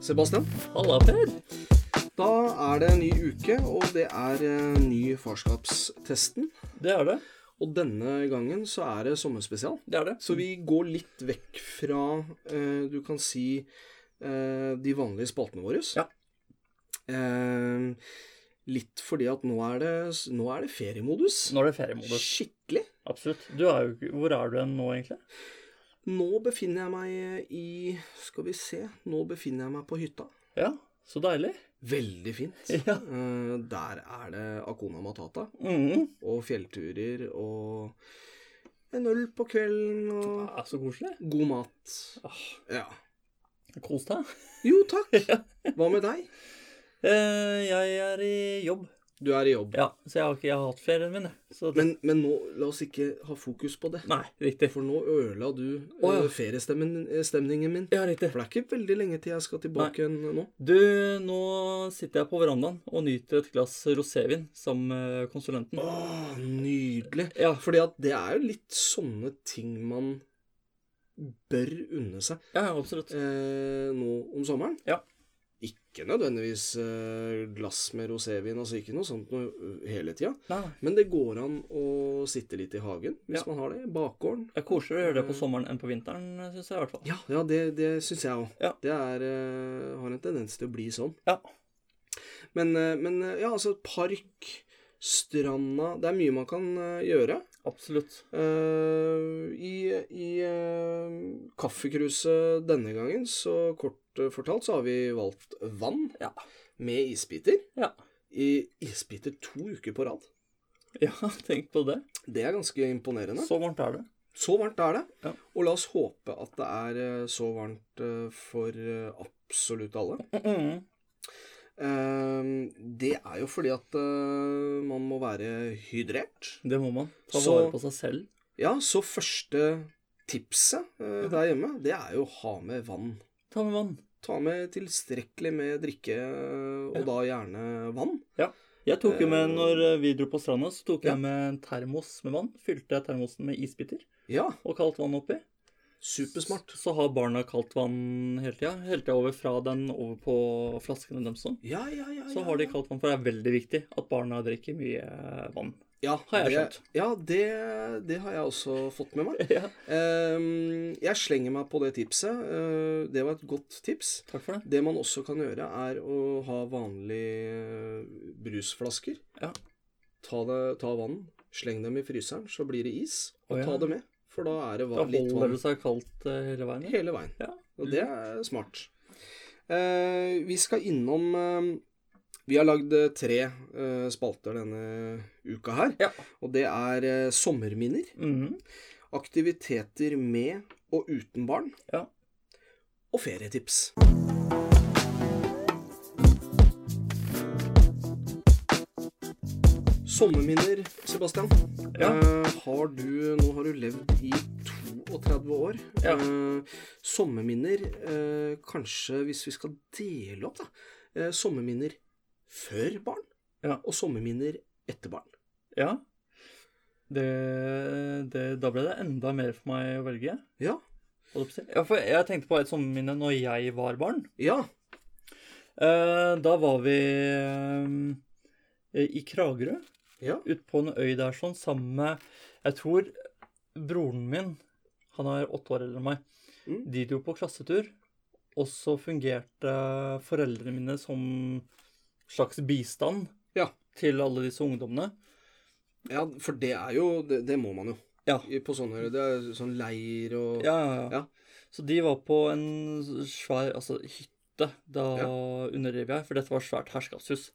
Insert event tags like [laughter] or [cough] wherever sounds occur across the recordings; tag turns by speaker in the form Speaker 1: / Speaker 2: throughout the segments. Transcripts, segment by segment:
Speaker 1: Sebastian.
Speaker 2: Halla, Per.
Speaker 1: Da er det en ny uke, og det er eh, ny farskapstesten.
Speaker 2: Det er det.
Speaker 1: Og denne gangen så er det sommerspesial.
Speaker 2: Det er det.
Speaker 1: Så vi går litt vekk fra, eh, du kan si, eh, de vanlige spaltene våre.
Speaker 2: Ja.
Speaker 1: Eh, litt fordi at nå er det, nå er det feriemodus.
Speaker 2: Nå er det feriemodus.
Speaker 1: Skikkelig.
Speaker 2: Absolutt. Du er jo, ikke- hvor er du hen nå, egentlig?
Speaker 1: Nå befinner jeg meg i Skal vi se. Nå befinner jeg meg på hytta.
Speaker 2: Ja, så deilig.
Speaker 1: Veldig fint.
Speaker 2: Ja.
Speaker 1: Eh, der er det Akona Matata
Speaker 2: Mm.
Speaker 1: og fjellturer og en øl på kvelden og
Speaker 2: Ah, så koselig.
Speaker 1: god mat.
Speaker 2: Ah,
Speaker 1: Ja.
Speaker 2: Kos deg.
Speaker 1: Jo,
Speaker 2: [laughs]
Speaker 1: takk. Hva med deg?
Speaker 2: Eh, jeg er i jobb.
Speaker 1: Du er i jobb.
Speaker 2: Ja, så jeg har ikke jeg har hatt ferien min, jeg. Så det,
Speaker 1: Men, men nå, la oss ikke ha fokus på det.
Speaker 2: Nei, riktig.
Speaker 1: For nå ødela du
Speaker 2: Å, ja.
Speaker 1: eh, feriestemmen- eh, stemningen min.
Speaker 2: Ja, riktig.
Speaker 1: For det er ikke veldig lenge til jeg skal tilbake igjen nå.
Speaker 2: Du, nå sitter jeg på verandaen og nyter et glass rosévin sammen med konsulenten.
Speaker 1: Å, nydelig.
Speaker 2: Ja,
Speaker 1: Fordi at det er jo litt sånne ting man bør unne seg
Speaker 2: ja, absolutt.
Speaker 1: eh, nå om sommeren.
Speaker 2: Ja.
Speaker 1: Ikke nødvendigvis eh, glass med rosévin, altså ikke noe sånt noe, ø, hele tida.
Speaker 2: Nei, nei.
Speaker 1: Men det går an å sitte litt i hagen hvis
Speaker 2: Ja.
Speaker 1: man har det. Bakgården.
Speaker 2: Det er koseligere å gjøre det på sommeren enn på vinteren, syns jeg i hvert fall.
Speaker 1: Ja, ja det, det syns jeg òg.
Speaker 2: Ja.
Speaker 1: Det er, eh, har en tendens til å bli sånn.
Speaker 2: Ja.
Speaker 1: Men, eh, men eh, ja, altså park, stranda Det er mye man kan eh, gjøre.
Speaker 2: Absolutt.
Speaker 1: Eh, I i eh, kaffekruset denne gangen, så kort eh, fortalt, så har vi valgt vann
Speaker 2: Ja.
Speaker 1: med isbiter.
Speaker 2: Ja.
Speaker 1: I isbiter to uker på rad.
Speaker 2: Ja, [laughs] tenk på det.
Speaker 1: Det er ganske imponerende. Så,
Speaker 2: Så varmt er det.
Speaker 1: varmt er det.
Speaker 2: Ja.
Speaker 1: Og la oss håpe at det er eh, så varmt eh, for eh, absolutt alle.
Speaker 2: Mm.
Speaker 1: Eh, Det er jo fordi at eh, man må være hydrert.
Speaker 2: Det må man. Ta
Speaker 1: Så-
Speaker 2: vare på seg selv.
Speaker 1: Ja, så første tipset eh, der hjemme, det er jo å ha med vann.
Speaker 2: Ta med vann.
Speaker 1: Ta med tilstrekkelig med drikke, øh, og
Speaker 2: Ja.
Speaker 1: da gjerne vann.
Speaker 2: Jeg tok jo med,
Speaker 1: Eh,
Speaker 2: når vi dro på stranda, så tok
Speaker 1: ja.
Speaker 2: jeg med en termos med vann. Fylte jeg termosen med isbiter
Speaker 1: Ja,
Speaker 2: og kaldt vann oppi.
Speaker 1: supersmart.
Speaker 2: Så har barna kaldt vann hele tida. Helt til over fra den over på flaskene deres sånn.
Speaker 1: Ja, ja, ja. ja,
Speaker 2: Så har de
Speaker 1: ja.
Speaker 2: kaldt vann, for det er veldig viktig at barna drikker mye
Speaker 1: [laughs]
Speaker 2: vann.
Speaker 1: ja,
Speaker 2: har jeg
Speaker 1: det,
Speaker 2: skjønt.
Speaker 1: Ja, det, det har jeg også fått med meg.
Speaker 2: Ja,
Speaker 1: Ehm, jeg slenger meg på det tipset. Eh, det var et godt tips.
Speaker 2: takk for det.
Speaker 1: Det man også kan gjøre, er å ha vanlige eh, brusflasker.
Speaker 2: Ja.
Speaker 1: Ta, det, ta vann, sleng dem i fryseren, så blir det is. Og
Speaker 2: Å, ja.
Speaker 1: ta det med, for da er det
Speaker 2: Da
Speaker 1: va- litt
Speaker 2: holder
Speaker 1: vann
Speaker 2: det seg kaldt eh, hele veien. ja.
Speaker 1: hele veien.
Speaker 2: Ja.
Speaker 1: Og det er smart. Eh, vi skal innom eh, Vi har lagd eh, tre eh, spalter denne uka her.
Speaker 2: Ja.
Speaker 1: Og det er eh, sommerminner,
Speaker 2: Mhm.
Speaker 1: aktiviteter med og uten barn,
Speaker 2: Ja.
Speaker 1: og ferietips. Sommerminner, Sebastian.
Speaker 2: Ja.
Speaker 1: Eh, har du, nå har du levd i 32 år.
Speaker 2: Ja.
Speaker 1: Eh, sommerminner, eh, kanskje hvis vi skal dele opp, da. Eh, sommerminner før barn,
Speaker 2: Ja.
Speaker 1: og sommerminner etter barn.
Speaker 2: ja. Det, det, da ble det enda mer for meg å velge.
Speaker 1: Ja.
Speaker 2: holdt jeg på å si. Ja, for jeg tenkte på et sommerminne når jeg var barn.
Speaker 1: Ja.
Speaker 2: Eh, da var vi eh, i Kragerø,
Speaker 1: Ja.
Speaker 2: ute på en øy der sånn, sammen med Jeg tror broren min, han er åtte år eldre enn meg,
Speaker 1: Mm.
Speaker 2: de dro på klassetur. Og så fungerte foreldrene mine som slags bistand
Speaker 1: Ja.
Speaker 2: til alle disse ungdommene.
Speaker 1: ja for det er jo Det, det må man jo.
Speaker 2: Ja.
Speaker 1: I- På sånne Det er sånn leir og
Speaker 2: Ja, ja, ja.
Speaker 1: Ja.
Speaker 2: Så de var på en svær altså, hytte. Da
Speaker 1: Ja.
Speaker 2: underdrev jeg, for dette var et svært herskapshus.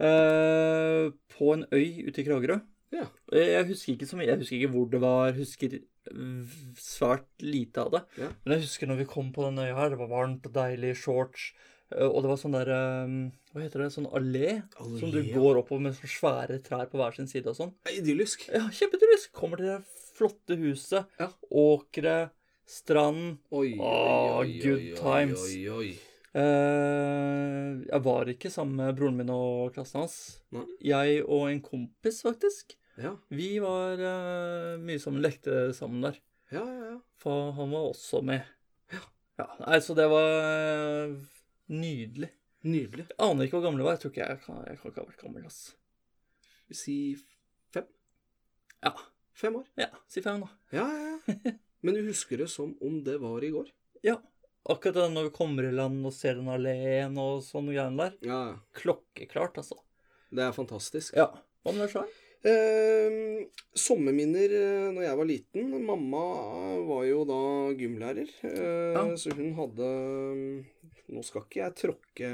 Speaker 2: Eh, på en øy ute i Kragerø.
Speaker 1: Ja.
Speaker 2: Eh, Jeg husker ikke så mye, jeg husker ikke hvor det var, husker v- svært lite av det.
Speaker 1: Ja.
Speaker 2: Men jeg husker når vi kom på den øya her, det var varmt og deilig, shorts, eh, og det var sånn der eh, Hva heter det? Sånn allé?
Speaker 1: Allé,
Speaker 2: Som du
Speaker 1: ja.
Speaker 2: går oppover med sånne svære trær på hver sin side og sånn.
Speaker 1: Det er Idyllisk.
Speaker 2: Ja, kjempeturist. Kommer til det flotte huset.
Speaker 1: Ja.
Speaker 2: Åkre, strand.
Speaker 1: Oi, oi,
Speaker 2: Ah,
Speaker 1: oi,
Speaker 2: good
Speaker 1: oi,
Speaker 2: times.
Speaker 1: Oi, oi.
Speaker 2: Eh, jeg var ikke sammen med broren min og klassen hans.
Speaker 1: Nei.
Speaker 2: Jeg og en kompis, faktisk.
Speaker 1: Ja,
Speaker 2: Vi var eh, mye sammen, lekte sammen der.
Speaker 1: ja, ja. ja.
Speaker 2: For han var også med. Ja, nei, så det var eh, Nydelig.
Speaker 1: Nydelig.
Speaker 2: Jeg aner ikke hvor gammel jeg var. Jeg tror ikke jeg kan, jeg kan ikke ha vært gammel, ass.
Speaker 1: Si fem?
Speaker 2: Ja.
Speaker 1: Fem år.
Speaker 2: Ja, si fem, da.
Speaker 1: Ja, ja, ja.
Speaker 2: [laughs]
Speaker 1: Men du husker det som om det var i går?
Speaker 2: Akkurat det når vi kommer i land og ser den alleen og sånne greier der.
Speaker 1: Ja, ja.
Speaker 2: Klokkeklart, altså.
Speaker 1: Det er fantastisk.
Speaker 2: Ja. Hva med deg sjøl?
Speaker 1: Eh, sommerminner eh, når jeg var liten. Mamma var jo da gymlærer, eh,
Speaker 2: Ja.
Speaker 1: så hun hadde ehm, Nå skal ikke jeg tråkke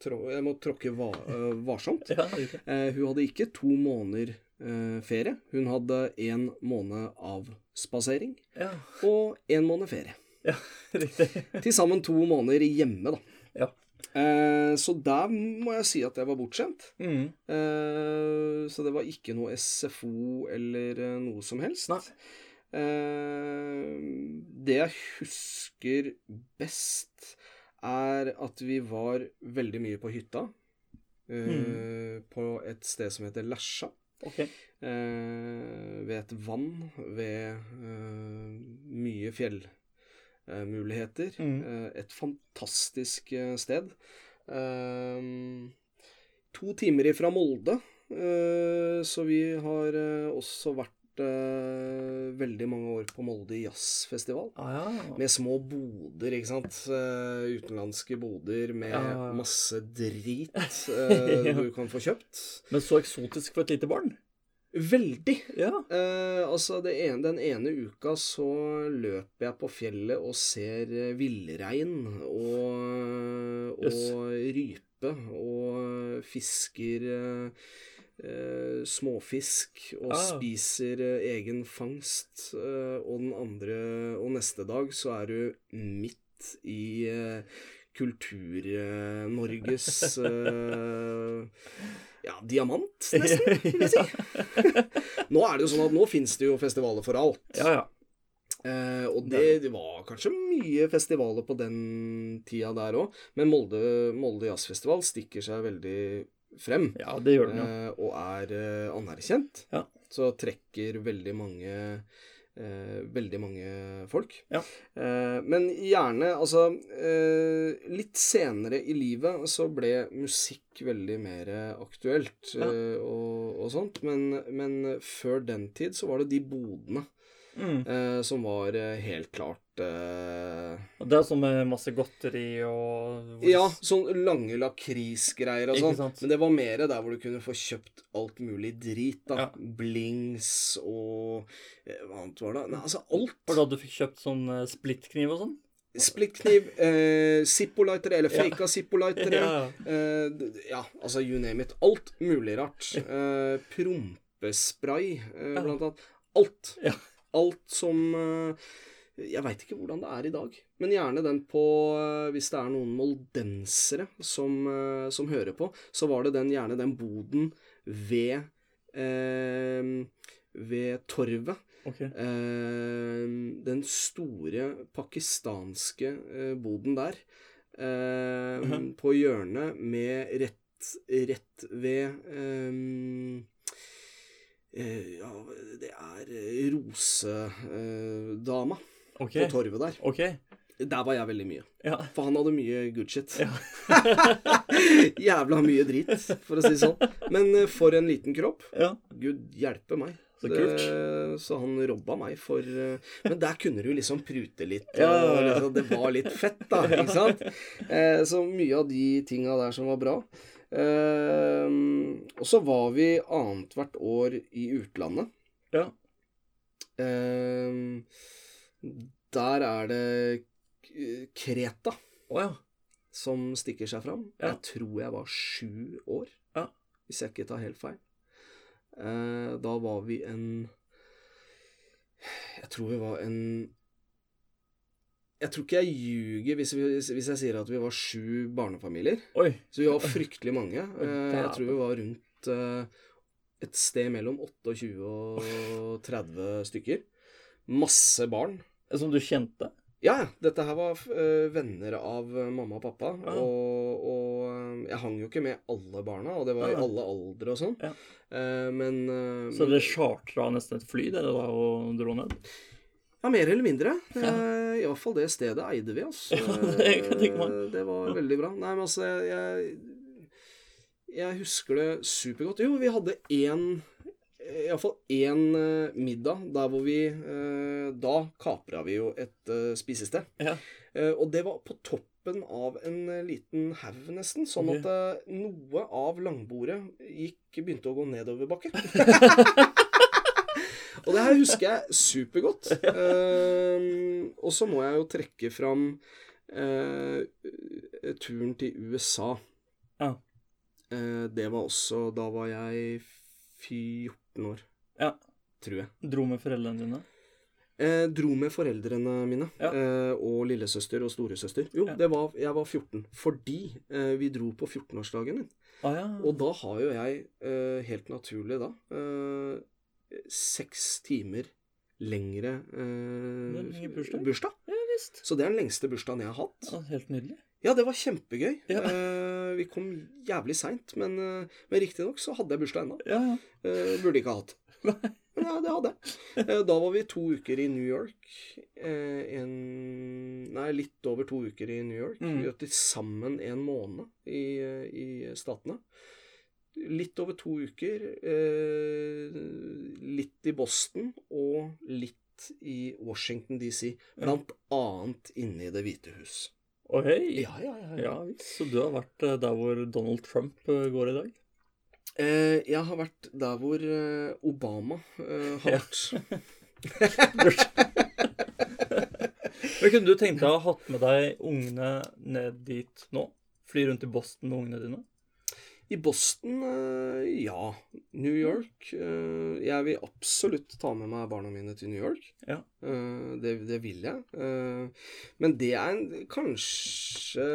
Speaker 1: trå, Jeg må tråkke va, eh, varsomt.
Speaker 2: Ja, det er det.
Speaker 1: Eh, hun hadde ikke to måneder eh, ferie. Hun hadde én måned avspasering
Speaker 2: ja,
Speaker 1: og én måned ferie.
Speaker 2: riktig.
Speaker 1: Til sammen to måneder hjemme, da.
Speaker 2: Ja.
Speaker 1: Eh, så der må jeg si at jeg var bortskjemt.
Speaker 2: Mm.
Speaker 1: Eh, så det var ikke noe SFO eller eh, noe som helst.
Speaker 2: Nei.
Speaker 1: Eh, det jeg husker best, er at vi var veldig mye på hytta. eh, På et sted som heter Lesja.
Speaker 2: Ok.
Speaker 1: Eh, ved et vann, ved eh, mye fjellmuligheter.
Speaker 2: Mm.
Speaker 1: Eh, et fantastisk eh, sted. Eh, to timer ifra Molde, eh, så vi har eh, også vært eh, veldig mange år på Molde jazzfestival.
Speaker 2: Ah, ja.
Speaker 1: Med små boder, ikke sant. Eh, utenlandske boder med
Speaker 2: Ja, ja, ja.
Speaker 1: masse drit
Speaker 2: [laughs]
Speaker 1: eh,
Speaker 2: Ja.
Speaker 1: du kan få kjøpt.
Speaker 2: Men så eksotisk for et lite barn.
Speaker 1: Veldig!
Speaker 2: Ja.
Speaker 1: Eh, altså, det ene, den ene uka så løper jeg på fjellet og ser eh, villrein og, og
Speaker 2: Jøss.
Speaker 1: rype og fisker eh, eh, småfisk og
Speaker 2: Ah.
Speaker 1: spiser eh, egen fangst. Eh, og den andre Og neste dag så er du midt i eh, Kultur-Norges eh, ja, diamant, nesten. vil jeg si. Nå er det jo sånn at nå finnes det jo festivaler for alt.
Speaker 2: [laughs] Ja, ja.
Speaker 1: Eh, og det, det var kanskje mye festivaler på den tida der òg, men Molde, Molde Jazzfestival stikker seg veldig frem.
Speaker 2: Ja, det gjør den jo.
Speaker 1: eh, og er eh, anerkjent.
Speaker 2: Ja.
Speaker 1: Så trekker veldig mange eh, veldig mange folk.
Speaker 2: Ja.
Speaker 1: Eh, men gjerne Altså, eh, litt senere i livet så ble musikk veldig mer aktuelt
Speaker 2: Ja.
Speaker 1: eh, og, og sånt. Men, men før den tid så var det de bodene
Speaker 2: Mm.
Speaker 1: eh, som var eh, helt klart eh,
Speaker 2: Og det er sånn med masse godteri og
Speaker 1: Ja, sånn lange lakrisgreier og
Speaker 2: Ikke
Speaker 1: sånn.
Speaker 2: sant?
Speaker 1: Men det var mer der hvor du kunne få kjøpt alt mulig drit, da.
Speaker 2: Ja.
Speaker 1: Blings og eh, Hva annet var det? Nei, altså
Speaker 2: For da
Speaker 1: alt.
Speaker 2: du fikk kjøpt sånn eh, splittkniv og sånn?
Speaker 1: Splittkniv, eh, zippolightere, eller
Speaker 2: Ja.
Speaker 1: faka
Speaker 2: [laughs]
Speaker 1: zippolightere. Ja. Eh, d- d- ja, altså you name it. Alt mulig rart. Eh, prompespray, eh,
Speaker 2: Ja.
Speaker 1: blant annet. Alt.
Speaker 2: Ja.
Speaker 1: Alt som eh, Jeg veit ikke hvordan det er i dag, men gjerne den på eh, Hvis det er noen moldensere som, eh, som hører på, så var det den gjerne den boden ved eh, ved torvet.
Speaker 2: Ok.
Speaker 1: Eh, den store pakistanske eh, boden der. Eh,
Speaker 2: Mhm.
Speaker 1: På hjørnet med rett, rett ved eh, eh, Ja, det er rosedama eh, dama
Speaker 2: Ok.
Speaker 1: på torvet der.
Speaker 2: Ok.
Speaker 1: Der var jeg veldig mye.
Speaker 2: Ja.
Speaker 1: For han hadde mye good shit.
Speaker 2: Ja.
Speaker 1: [laughs] Jævla mye drit, for å si det sånn. Men eh, for en liten kropp.
Speaker 2: ja.
Speaker 1: Gud hjelpe meg.
Speaker 2: Så kult.
Speaker 1: Det- så han robba meg for eh, Men der kunne du liksom prute litt, og
Speaker 2: Ja, ja, ja.
Speaker 1: liksom, det var litt fett,
Speaker 2: [laughs]
Speaker 1: da. Ikke sant? Eh, Så mye av de tinga der som var bra. Eh, Og så var vi annethvert år i utlandet.
Speaker 2: Ja.
Speaker 1: Eh, Der er det K- Kreta
Speaker 2: Å ja.
Speaker 1: som stikker seg fram.
Speaker 2: Ja.
Speaker 1: Jeg tror jeg var sju år,
Speaker 2: Ja.
Speaker 1: hvis jeg ikke tar helt feil. Eh, da var vi en Jeg tror vi var en Jeg tror ikke jeg ljuger hvis, vi, hvis jeg sier at vi var sju barnefamilier.
Speaker 2: Oi.
Speaker 1: Så vi var fryktelig
Speaker 2: [laughs]
Speaker 1: mange. Eh, jeg
Speaker 2: dæven.
Speaker 1: tror vi var rundt eh, et sted mellom 28 og 30 stykker. Masse barn.
Speaker 2: Som du kjente?
Speaker 1: Ja, ja. Dette her var eh, venner av eh, mamma og pappa.
Speaker 2: Ja.
Speaker 1: Og, og eh, jeg hang jo ikke med alle barna, og det var
Speaker 2: Nei,
Speaker 1: i
Speaker 2: nei.
Speaker 1: alle aldre og sånn.
Speaker 2: Ja.
Speaker 1: Eh, men eh,
Speaker 2: Mm. Så dere chartra nesten et fly dere da og dro ned?
Speaker 1: Ja, mer eller mindre.
Speaker 2: [laughs] Ja.
Speaker 1: Eh, eh, i hvert fall det stedet eide vi, altså.
Speaker 2: [laughs] Ja, det kan jeg tenke meg.
Speaker 1: Eh, Det var veldig bra. Nei, men altså, jeg Jeg husker det supergodt. Jo, vi hadde én Iallfall én eh, middag der hvor vi eh, Da kapra vi jo et eh, spisested.
Speaker 2: Ja.
Speaker 1: Eh, Og det var på toppen av en eh, liten haug, nesten. Sånn at
Speaker 2: Ok.
Speaker 1: eh, noe av langbordet gikk, begynte å gå nedoverbakke.
Speaker 2: [laughs]
Speaker 1: Og det her husker jeg supergodt. Ehm, og så må jeg jo trekke fram eh, turen til USA.
Speaker 2: Ja.
Speaker 1: Eh, det var også Da var jeg 14 år,
Speaker 2: Ja.
Speaker 1: tror jeg.
Speaker 2: Dro med foreldrene dine?
Speaker 1: Eh, dro med foreldrene mine.
Speaker 2: Ja.
Speaker 1: Eh, og lillesøster og storesøster. Jo,
Speaker 2: Ja.
Speaker 1: det var, jeg var 14. Fordi eh, vi dro på 14-årsdagen min.
Speaker 2: Å Ah, ja.
Speaker 1: Og da har jo jeg, eh, helt naturlig da, eh, seks timer lengre eh,
Speaker 2: Det er lenge bursdag. ja visst.
Speaker 1: Så det er den lengste bursdagen jeg har hatt.
Speaker 2: Ja, helt nydelig.
Speaker 1: Ja, det var kjempegøy.
Speaker 2: Ja.
Speaker 1: Eh, vi kom jævlig seint, men, eh, men riktignok så hadde jeg bursdag ennå.
Speaker 2: Ja, ja.
Speaker 1: Eh, burde ikke ha hatt. [laughs]
Speaker 2: Nei.
Speaker 1: Men ja, det hadde jeg. Eh, da var vi to uker i New York. Eh, en, nei, litt over to uker i New York.
Speaker 2: Mm.
Speaker 1: Vi var til sammen en måned i, eh, i Statene. Litt over to uker. Eh, litt i Boston og litt i Washington DC. Blant annet inne i Det hvite hus.
Speaker 2: Å hei.
Speaker 1: Ja, ja, ja.
Speaker 2: Ja visst. Så du har vært eh, der hvor Donald Trump eh, går [laughs] i dag?
Speaker 1: Eh, jeg har vært der hvor eh, Obama eh,
Speaker 2: Ja.
Speaker 1: har vært.
Speaker 2: Men kunne du tenkt deg å ha hatt med deg ungene ned dit nå? Fly rundt i Boston med ungene dine?
Speaker 1: I Boston, eh, ja. New York. eh, Jeg vil absolutt ta med meg barna mine til New York.
Speaker 2: Ja.
Speaker 1: Eh, Det, det vil jeg. Eh, Men det er en, kanskje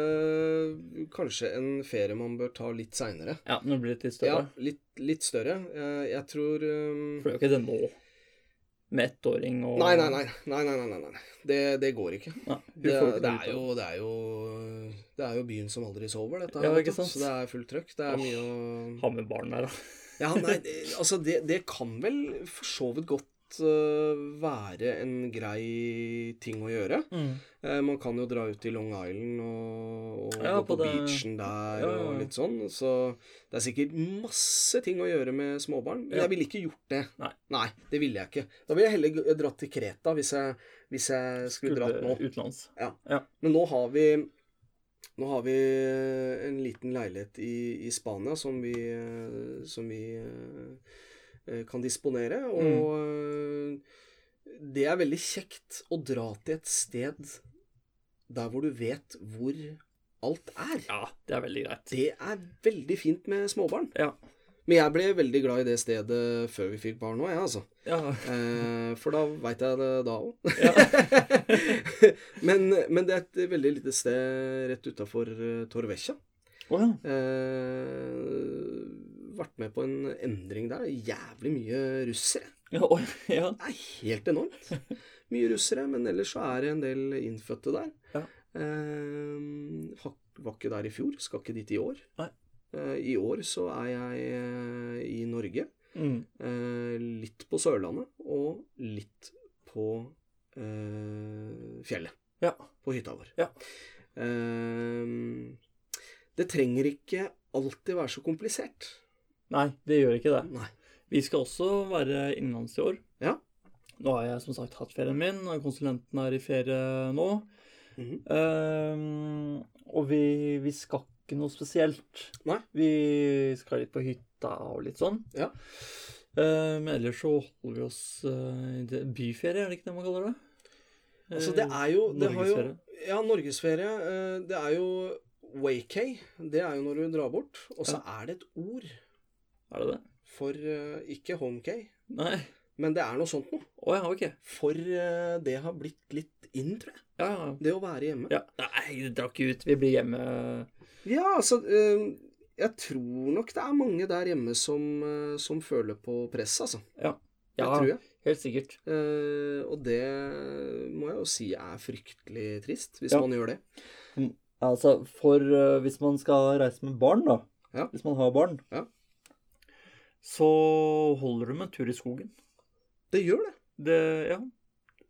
Speaker 1: Kanskje en ferie man bør ta litt seinere.
Speaker 2: Ja, men det blir litt
Speaker 1: Ja,
Speaker 2: større.
Speaker 1: litt, litt større. Eh, Jeg tror eh,
Speaker 2: For det er jo ikke det nå. Med ettåring og
Speaker 1: Nei, nei, nei. nei, nei, nei, nei, nei. Det, det går ikke.
Speaker 2: Nei, hun
Speaker 1: Det,
Speaker 2: får ikke
Speaker 1: det,
Speaker 2: noe ut
Speaker 1: er
Speaker 2: av
Speaker 1: jo, det, er jo, det er jo byen som aldri sover, dette. her,
Speaker 2: Ja,
Speaker 1: vet
Speaker 2: ikke
Speaker 1: du.
Speaker 2: sant?
Speaker 1: Så det er fullt trøkk. Det er
Speaker 2: Åh.
Speaker 1: mye å
Speaker 2: Ha med barn der, da.
Speaker 1: Ja, nei, det- altså det, det kan vel for så vidt godt øh, være en grei ting å gjøre.
Speaker 2: Mm.
Speaker 1: Eh, man kan jo dra ut til Long Island og, og
Speaker 2: Ja,
Speaker 1: gå på,
Speaker 2: på det-
Speaker 1: beachen der
Speaker 2: Ja, ja, ja.
Speaker 1: og litt sånn. Så det er sikkert masse ting å gjøre med småbarn. Men
Speaker 2: Ja.
Speaker 1: jeg ville ikke gjort det.
Speaker 2: Nei.
Speaker 1: det ville jeg ikke. Da ville jeg heller g- dratt til Kreta hvis jeg, hvis jeg skulle dratt nå.
Speaker 2: Utenlands.
Speaker 1: Men nå har vi nå har vi eh, en liten leilighet i, i Spania som vi, eh, som vi eh, eh, kan disponere. Og eh, det er veldig kjekt å dra til et sted der hvor du vet hvor alt er.
Speaker 2: Ja, det er veldig greit.
Speaker 1: Det er veldig fint med småbarn.
Speaker 2: Ja.
Speaker 1: Men jeg ble veldig glad i det stedet før vi fikk barn òg, jeg, altså.
Speaker 2: Ja.
Speaker 1: Eh, for da veit jeg det da òg.
Speaker 2: ja.
Speaker 1: [laughs] men, men det er et veldig lite sted rett utafor Torvesja.
Speaker 2: Å ja.
Speaker 1: Eh, vært med på en endring der. Jævlig mye russere.
Speaker 2: Ja, oi, ja.
Speaker 1: Det er helt enormt. Mye russere, men ellers så er det en del innfødte der.
Speaker 2: Ja.
Speaker 1: Eh, ha- var ikke der i fjor, skal ikke dit i år.
Speaker 2: Nei.
Speaker 1: Eh, I år så er jeg eh, i Norge.
Speaker 2: Mm.
Speaker 1: Eh, litt på Sørlandet og litt på eh, fjellet
Speaker 2: ja.
Speaker 1: på hytta vår.
Speaker 2: Ja.
Speaker 1: Ehm, det trenger ikke alltid være så komplisert.
Speaker 2: Nei, det gjør ikke det.
Speaker 1: Nei.
Speaker 2: Vi skal også være innenlands i år.
Speaker 1: Ja.
Speaker 2: Nå har jeg som sagt hatt ferien min, og konsulenten er i ferie nå.
Speaker 1: Mhm.
Speaker 2: Ehm, og vi, vi skal ikke noe spesielt.
Speaker 1: Nei.
Speaker 2: Vi skal litt på hytta og litt sånn.
Speaker 1: Ja.
Speaker 2: Ehm, men ellers så holder vi oss eh, i det- byferie, er det ikke det man kaller det?
Speaker 1: Altså, det er jo, det har jo
Speaker 2: Norgesferie.
Speaker 1: Ja, norgesferie. eh, Det er jo waykay. Det er jo når du drar bort. Og så er det et ord
Speaker 2: Er det det?
Speaker 1: for eh, ikke homekay,
Speaker 2: Nei.
Speaker 1: men det er noe sånt noe.
Speaker 2: Å ja, ok.
Speaker 1: For eh, det har blitt litt inn, tror jeg.
Speaker 2: Ja, ja.
Speaker 1: Det å være hjemme.
Speaker 2: ja. Nei, vi drar ikke ut. Vi blir hjemme.
Speaker 1: Ja, altså eh, Jeg tror nok det er mange der hjemme som, eh, som føler på press, altså. Det
Speaker 2: Ja,
Speaker 1: tror jeg.
Speaker 2: helt sikkert.
Speaker 1: Eh, og det må jeg jo si er fryktelig trist, hvis
Speaker 2: Ja.
Speaker 1: man gjør det.
Speaker 2: Altså, for eh, hvis man skal reise med barn, da.
Speaker 1: Ja.
Speaker 2: Hvis man har barn.
Speaker 1: Ja.
Speaker 2: Så holder du med en tur i skogen.
Speaker 1: Det gjør det.
Speaker 2: Det, ja.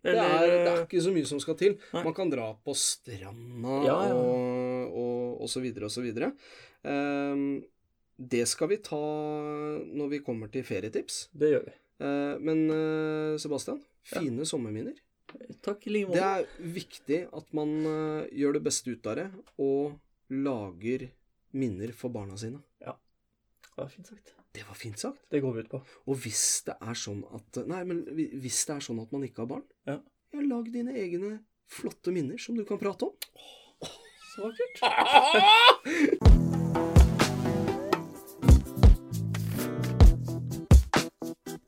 Speaker 1: Det er,
Speaker 2: Eller, eh,
Speaker 1: det er ikke så mye som skal til.
Speaker 2: Nei.
Speaker 1: Man kan dra på stranda
Speaker 2: Ja, ja.
Speaker 1: Og, og, og så videre og så videre. Ehm, det skal vi ta når vi kommer til ferietips.
Speaker 2: Det gjør vi.
Speaker 1: Eh, men eh, Sebastian,
Speaker 2: Ja.
Speaker 1: fine sommerminner.
Speaker 2: Takk i like
Speaker 1: Det
Speaker 2: måte.
Speaker 1: er viktig at man eh, gjør det beste ut av det, og lager minner for barna sine.
Speaker 2: Ja, fint sagt.
Speaker 1: Det var fint sagt.
Speaker 2: Det går vi ut på.
Speaker 1: Og hvis det er sånn at Nei, men hvi- hvis det er sånn at man ikke har barn,
Speaker 2: Ja.
Speaker 1: ja, lag dine egne flotte minner som du kan prate om.
Speaker 2: Så vakkert.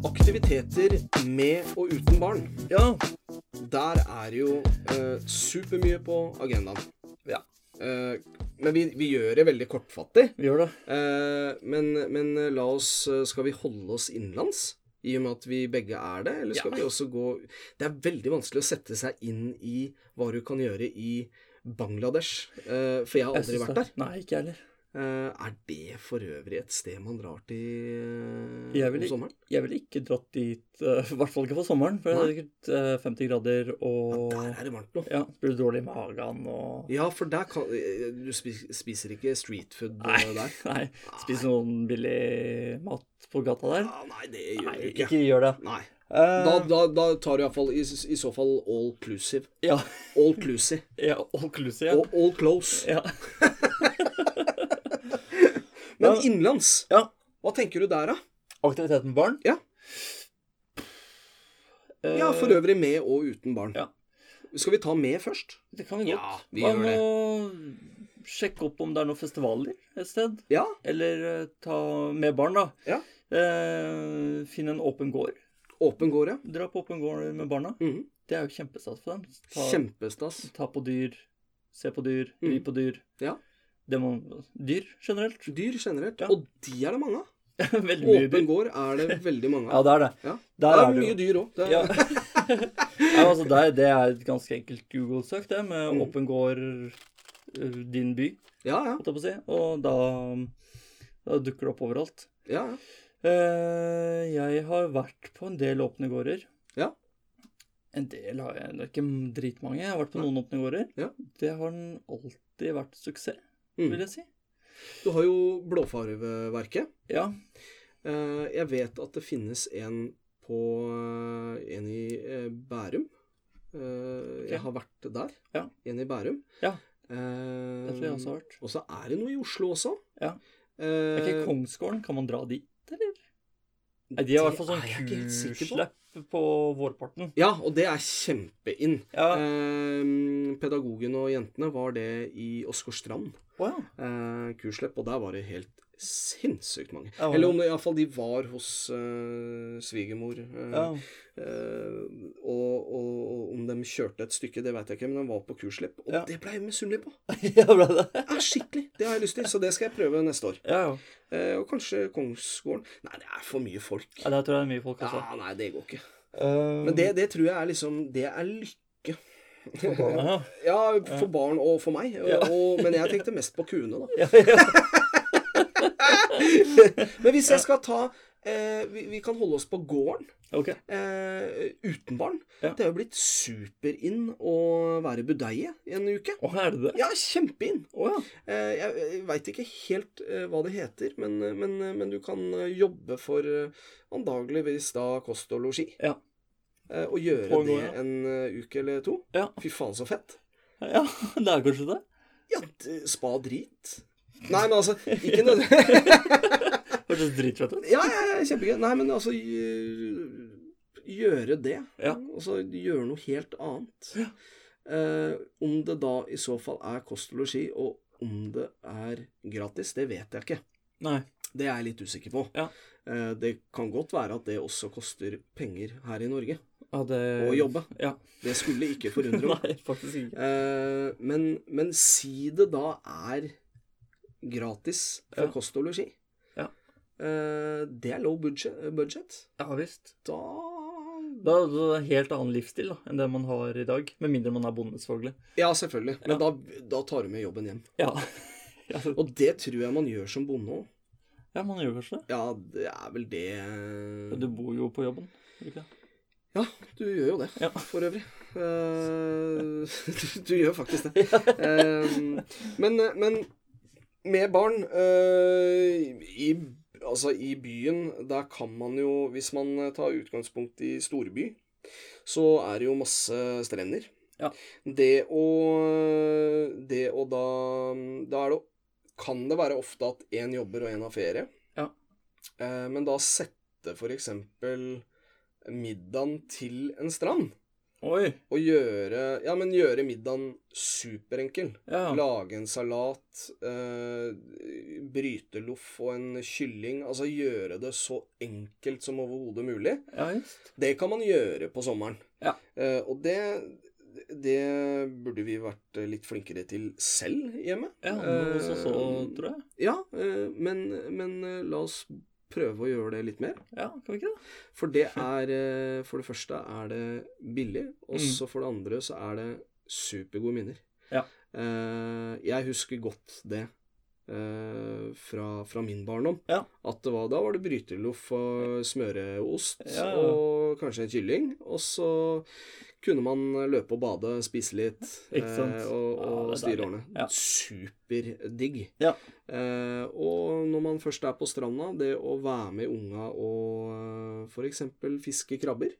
Speaker 1: Aktiviteter med og uten barn.
Speaker 2: Ja.
Speaker 1: Der er jo eh, supermye på agendaen.
Speaker 2: Ja.
Speaker 1: Eh, men vi, vi gjør det veldig kortfattig.
Speaker 2: Vi gjør det.
Speaker 1: Eh, men, men la oss eh, Skal vi holde oss innenlands? I og med at vi begge er det, eller skal
Speaker 2: Ja.
Speaker 1: vi også gå Det er veldig vanskelig å sette seg inn i hva du kan gjøre i Bangladesh. eh, for jeg har
Speaker 2: Jeg
Speaker 1: aldri
Speaker 2: synes
Speaker 1: vært
Speaker 2: det-
Speaker 1: der.
Speaker 2: Nei, ikke jeg heller.
Speaker 1: Eh, er det for øvrig et sted man drar til eh,
Speaker 2: Jeg vil
Speaker 1: om
Speaker 2: ikke-
Speaker 1: sommeren?
Speaker 2: Jeg ville ikke dratt dit, eh, i hvert fall ikke for sommeren, for det er sikkert eh, 50 grader
Speaker 1: Ja,
Speaker 2: og
Speaker 1: der er det varmt nå.
Speaker 2: Ja, blir du dårlig i magen og
Speaker 1: Ja, for der kan eh, Du spis- spiser ikke streetfood
Speaker 2: Nei, [laughs]
Speaker 1: der?
Speaker 2: nei. Spise noen billig mat på gata der?
Speaker 1: Ja, Ah, nei, det gjør
Speaker 2: Nei,
Speaker 1: du ikke.
Speaker 2: ikke gjør det.
Speaker 1: Nei.
Speaker 2: Eh,
Speaker 1: Da, da, da tar du iallfall i, I så fall all clusive.
Speaker 2: ja,
Speaker 1: All clusy.
Speaker 2: [laughs] ja, occlusive, ja.
Speaker 1: Og all close.
Speaker 2: ja.
Speaker 1: Men
Speaker 2: Ja.
Speaker 1: innenlands,
Speaker 2: Ja.
Speaker 1: hva tenker du der, da?
Speaker 2: Aktivitet med barn?
Speaker 1: Ja.
Speaker 2: Eh,
Speaker 1: Ja, for øvrig med og uten barn.
Speaker 2: ja.
Speaker 1: Skal vi ta med først?
Speaker 2: Eh, Det kan vi godt.
Speaker 1: Ja, vi
Speaker 2: Hva
Speaker 1: gjør
Speaker 2: med å sjekke opp om det er noen festivaler et sted?
Speaker 1: Ja.
Speaker 2: Eller eh, ta med barn, da.
Speaker 1: Ja.
Speaker 2: Eh, Finn en åpen gård.
Speaker 1: Åpen gård, ja.
Speaker 2: Dra på åpen gård med barna.
Speaker 1: Mhm.
Speaker 2: Det er jo kjempestas for dem. Ta,
Speaker 1: Kjempestas.
Speaker 2: ta på dyr, se på dyr,
Speaker 1: Mm.
Speaker 2: ri på dyr.
Speaker 1: Ja.
Speaker 2: Det må, dyr generelt. [laughs]
Speaker 1: Dyr generelt.
Speaker 2: Ja.
Speaker 1: Og de er det mange av.
Speaker 2: Veldig mye
Speaker 1: Åpen
Speaker 2: dyr.
Speaker 1: gård er det veldig mange
Speaker 2: Ja,
Speaker 1: av.
Speaker 2: det er det.
Speaker 1: Ja.
Speaker 2: Der
Speaker 1: det
Speaker 2: er
Speaker 1: er
Speaker 2: det
Speaker 1: mye
Speaker 2: jo.
Speaker 1: dyr òg.
Speaker 2: Ja. [laughs] Nei, altså, det, er- det er et ganske enkelt Google-søk, det, med
Speaker 1: Mm.
Speaker 2: åpen gård, eh, din by,
Speaker 1: Ja, ja.
Speaker 2: holdt jeg på å si. Og da, da dukker det opp overalt.
Speaker 1: ja, ja.
Speaker 2: Eh, jeg har vært på en del åpne gårder.
Speaker 1: Ja.
Speaker 2: En del har jeg, det er ikke dritmange. Jeg har vært på noen åpne gårder.
Speaker 1: Ja.
Speaker 2: Det har den alltid vært suksess, vil
Speaker 1: Mm.
Speaker 2: jeg si.
Speaker 1: Du har jo Blåfarveverket.
Speaker 2: Ja.
Speaker 1: Eh, Jeg vet at det finnes en på eh, En i eh, Bærum. Eh, Jeg
Speaker 2: Ok.
Speaker 1: har vært der.
Speaker 2: Ja.
Speaker 1: En i Bærum.
Speaker 2: Ja.
Speaker 1: Eh,
Speaker 2: Det tror jeg også har vært.
Speaker 1: Og så er det noe i Oslo også.
Speaker 2: Ja. Er
Speaker 1: Eh,
Speaker 2: ikke Kongsgården, kan man dra dit, eller? Nei, de har i hvert fall
Speaker 1: det er
Speaker 2: sånn
Speaker 1: jeg ikke helt sikker på.
Speaker 2: kurslepp på vårparten.
Speaker 1: Ja, og det er kjempeinn.
Speaker 2: Ja.
Speaker 1: Eh, pedagogen og jentene var det i Åsgårdstrand.
Speaker 2: Wow.
Speaker 1: Eh, kursløp, og der var det helt sinnssykt mange.
Speaker 2: Ja, var det?
Speaker 1: Eller om det iallfall de var hos eh, svigermor. eh,
Speaker 2: Ja.
Speaker 1: Eh, og, og, og om de kjørte et stykke, det vet jeg ikke, men de var på kurslipp. Og
Speaker 2: Ja.
Speaker 1: det ble jeg misunnelig på.
Speaker 2: [laughs] ja, ble det?
Speaker 1: Ja, skikkelig. Det har jeg lyst til, så det skal jeg prøve neste år.
Speaker 2: Ja, ja.
Speaker 1: Eh, og kanskje Kongsgården. Nei, det er for mye folk.
Speaker 2: ja. Der tror jeg det er mye folk,
Speaker 1: Ja,
Speaker 2: altså.
Speaker 1: nei, det går ikke.
Speaker 2: Eh,
Speaker 1: Men det, det tror jeg er liksom Det er lykke.
Speaker 2: ja.
Speaker 1: Ja, for barn og for meg. Og,
Speaker 2: Ja.
Speaker 1: og, men jeg tenkte mest på kuene,
Speaker 2: [laughs]
Speaker 1: da.
Speaker 2: Ja, ja.
Speaker 1: Men hvis jeg skal ta eh, vi, vi kan holde oss på gården.
Speaker 2: Ok.
Speaker 1: Eh, uten barn.
Speaker 2: Ja.
Speaker 1: Det er jo blitt super-in å være budeie i en uke.
Speaker 2: Å, er det det?
Speaker 1: Ja, kjempe-in.
Speaker 2: Å ja.
Speaker 1: Eh, Jeg veit ikke helt eh, hva det heter, men, men, men du kan eh, jobbe for eh, antageligvis da kost og losji.
Speaker 2: Ja.
Speaker 1: Eh, Og gjøre
Speaker 2: På en
Speaker 1: det
Speaker 2: gård, ja.
Speaker 1: en eh, uke eller to.
Speaker 2: Ja.
Speaker 1: Fy faen, så fett.
Speaker 2: Ja, det er kanskje det.
Speaker 1: Ja, d- spa drit. Nei, men altså ikke nødvendigvis
Speaker 2: Hørtes dritfett ut.
Speaker 1: Ja, ja, ja, kjempegøy. Nei, men altså gj- Gjøre det.
Speaker 2: Ja.
Speaker 1: Altså gjøre noe helt annet. Eh, om det da i så fall er kost og losji, og om det er gratis, det vet jeg ikke.
Speaker 2: Nei.
Speaker 1: Det er jeg litt usikker på.
Speaker 2: Ja.
Speaker 1: Eh, Det kan godt være at det også koster penger her i Norge
Speaker 2: Ja, det...
Speaker 1: å jobbe.
Speaker 2: Eh, Ja.
Speaker 1: Det skulle ikke
Speaker 2: [laughs]
Speaker 1: forundre meg.
Speaker 2: Nei, faktisk ikke.
Speaker 1: Eh, Men, men si det da er gratis for
Speaker 2: Ja.
Speaker 1: kost og losji.
Speaker 2: Ja.
Speaker 1: Eh, Det er low budget. budget.
Speaker 2: Ja visst.
Speaker 1: Da
Speaker 2: Da er det en helt annen livsstil da, enn det man har i dag. Med mindre man er bonde, selvfølgelig.
Speaker 1: Ja, selvfølgelig. Men
Speaker 2: Ja.
Speaker 1: da, da tar du med jobben hjem.
Speaker 2: Ja. ja.
Speaker 1: Og det tror jeg man gjør som bonde òg.
Speaker 2: ja, man gjør kanskje det.
Speaker 1: Ja, det er vel det
Speaker 2: Du bor jo på jobben. gjør du Ikke? det?
Speaker 1: Ja, du gjør jo det,
Speaker 2: Ja.
Speaker 1: for øvrig. Eh, [laughs] du gjør faktisk
Speaker 2: [laughs]
Speaker 1: det. Eh, men, men med barn eh, i, altså i byen, der kan man jo, hvis man tar utgangspunkt i storby, så er det jo masse strender.
Speaker 2: Ja.
Speaker 1: Det å Det å da Da er det Kan det være ofte at én jobber og én har ferie.
Speaker 2: Ja.
Speaker 1: Eh, men da sette for eksempel middagen til en strand.
Speaker 2: Oi.
Speaker 1: Og gjøre, ja, men gjøre middagen superenkel.
Speaker 2: Ja.
Speaker 1: Lage en salat, eh, bryteloff og en kylling. Altså gjøre det så enkelt som overhodet mulig.
Speaker 2: ja just.
Speaker 1: Det kan man gjøre på sommeren.
Speaker 2: Ja.
Speaker 1: Eh, og det, det burde vi vært litt flinkere til selv hjemme.
Speaker 2: Ja, noe
Speaker 1: Eh,
Speaker 2: så så, tror jeg.
Speaker 1: Ja, eh, men, men eh, la oss prøve å gjøre det litt mer.
Speaker 2: Ja, kan vi ikke det?
Speaker 1: For det er eh, For det første er det billig, og
Speaker 2: Mm.
Speaker 1: så for det andre så er det supergode minner.
Speaker 2: Ja.
Speaker 1: Eh, jeg husker godt det eh, fra, fra min barndom.
Speaker 2: Ja.
Speaker 1: At det var, da var det bryteloff og smøreost
Speaker 2: Ja.
Speaker 1: og kanskje en kylling. Og så kunne man løpe og bade, spise litt
Speaker 2: Ikke sant?
Speaker 1: eh, og,
Speaker 2: Ja,
Speaker 1: og
Speaker 2: det er
Speaker 1: styre
Speaker 2: deilig.
Speaker 1: årene.
Speaker 2: Ja.
Speaker 1: Superdigg.
Speaker 2: Ja.
Speaker 1: Eh, og når man først er på stranda, det å være med unga og f.eks. fiske krabber.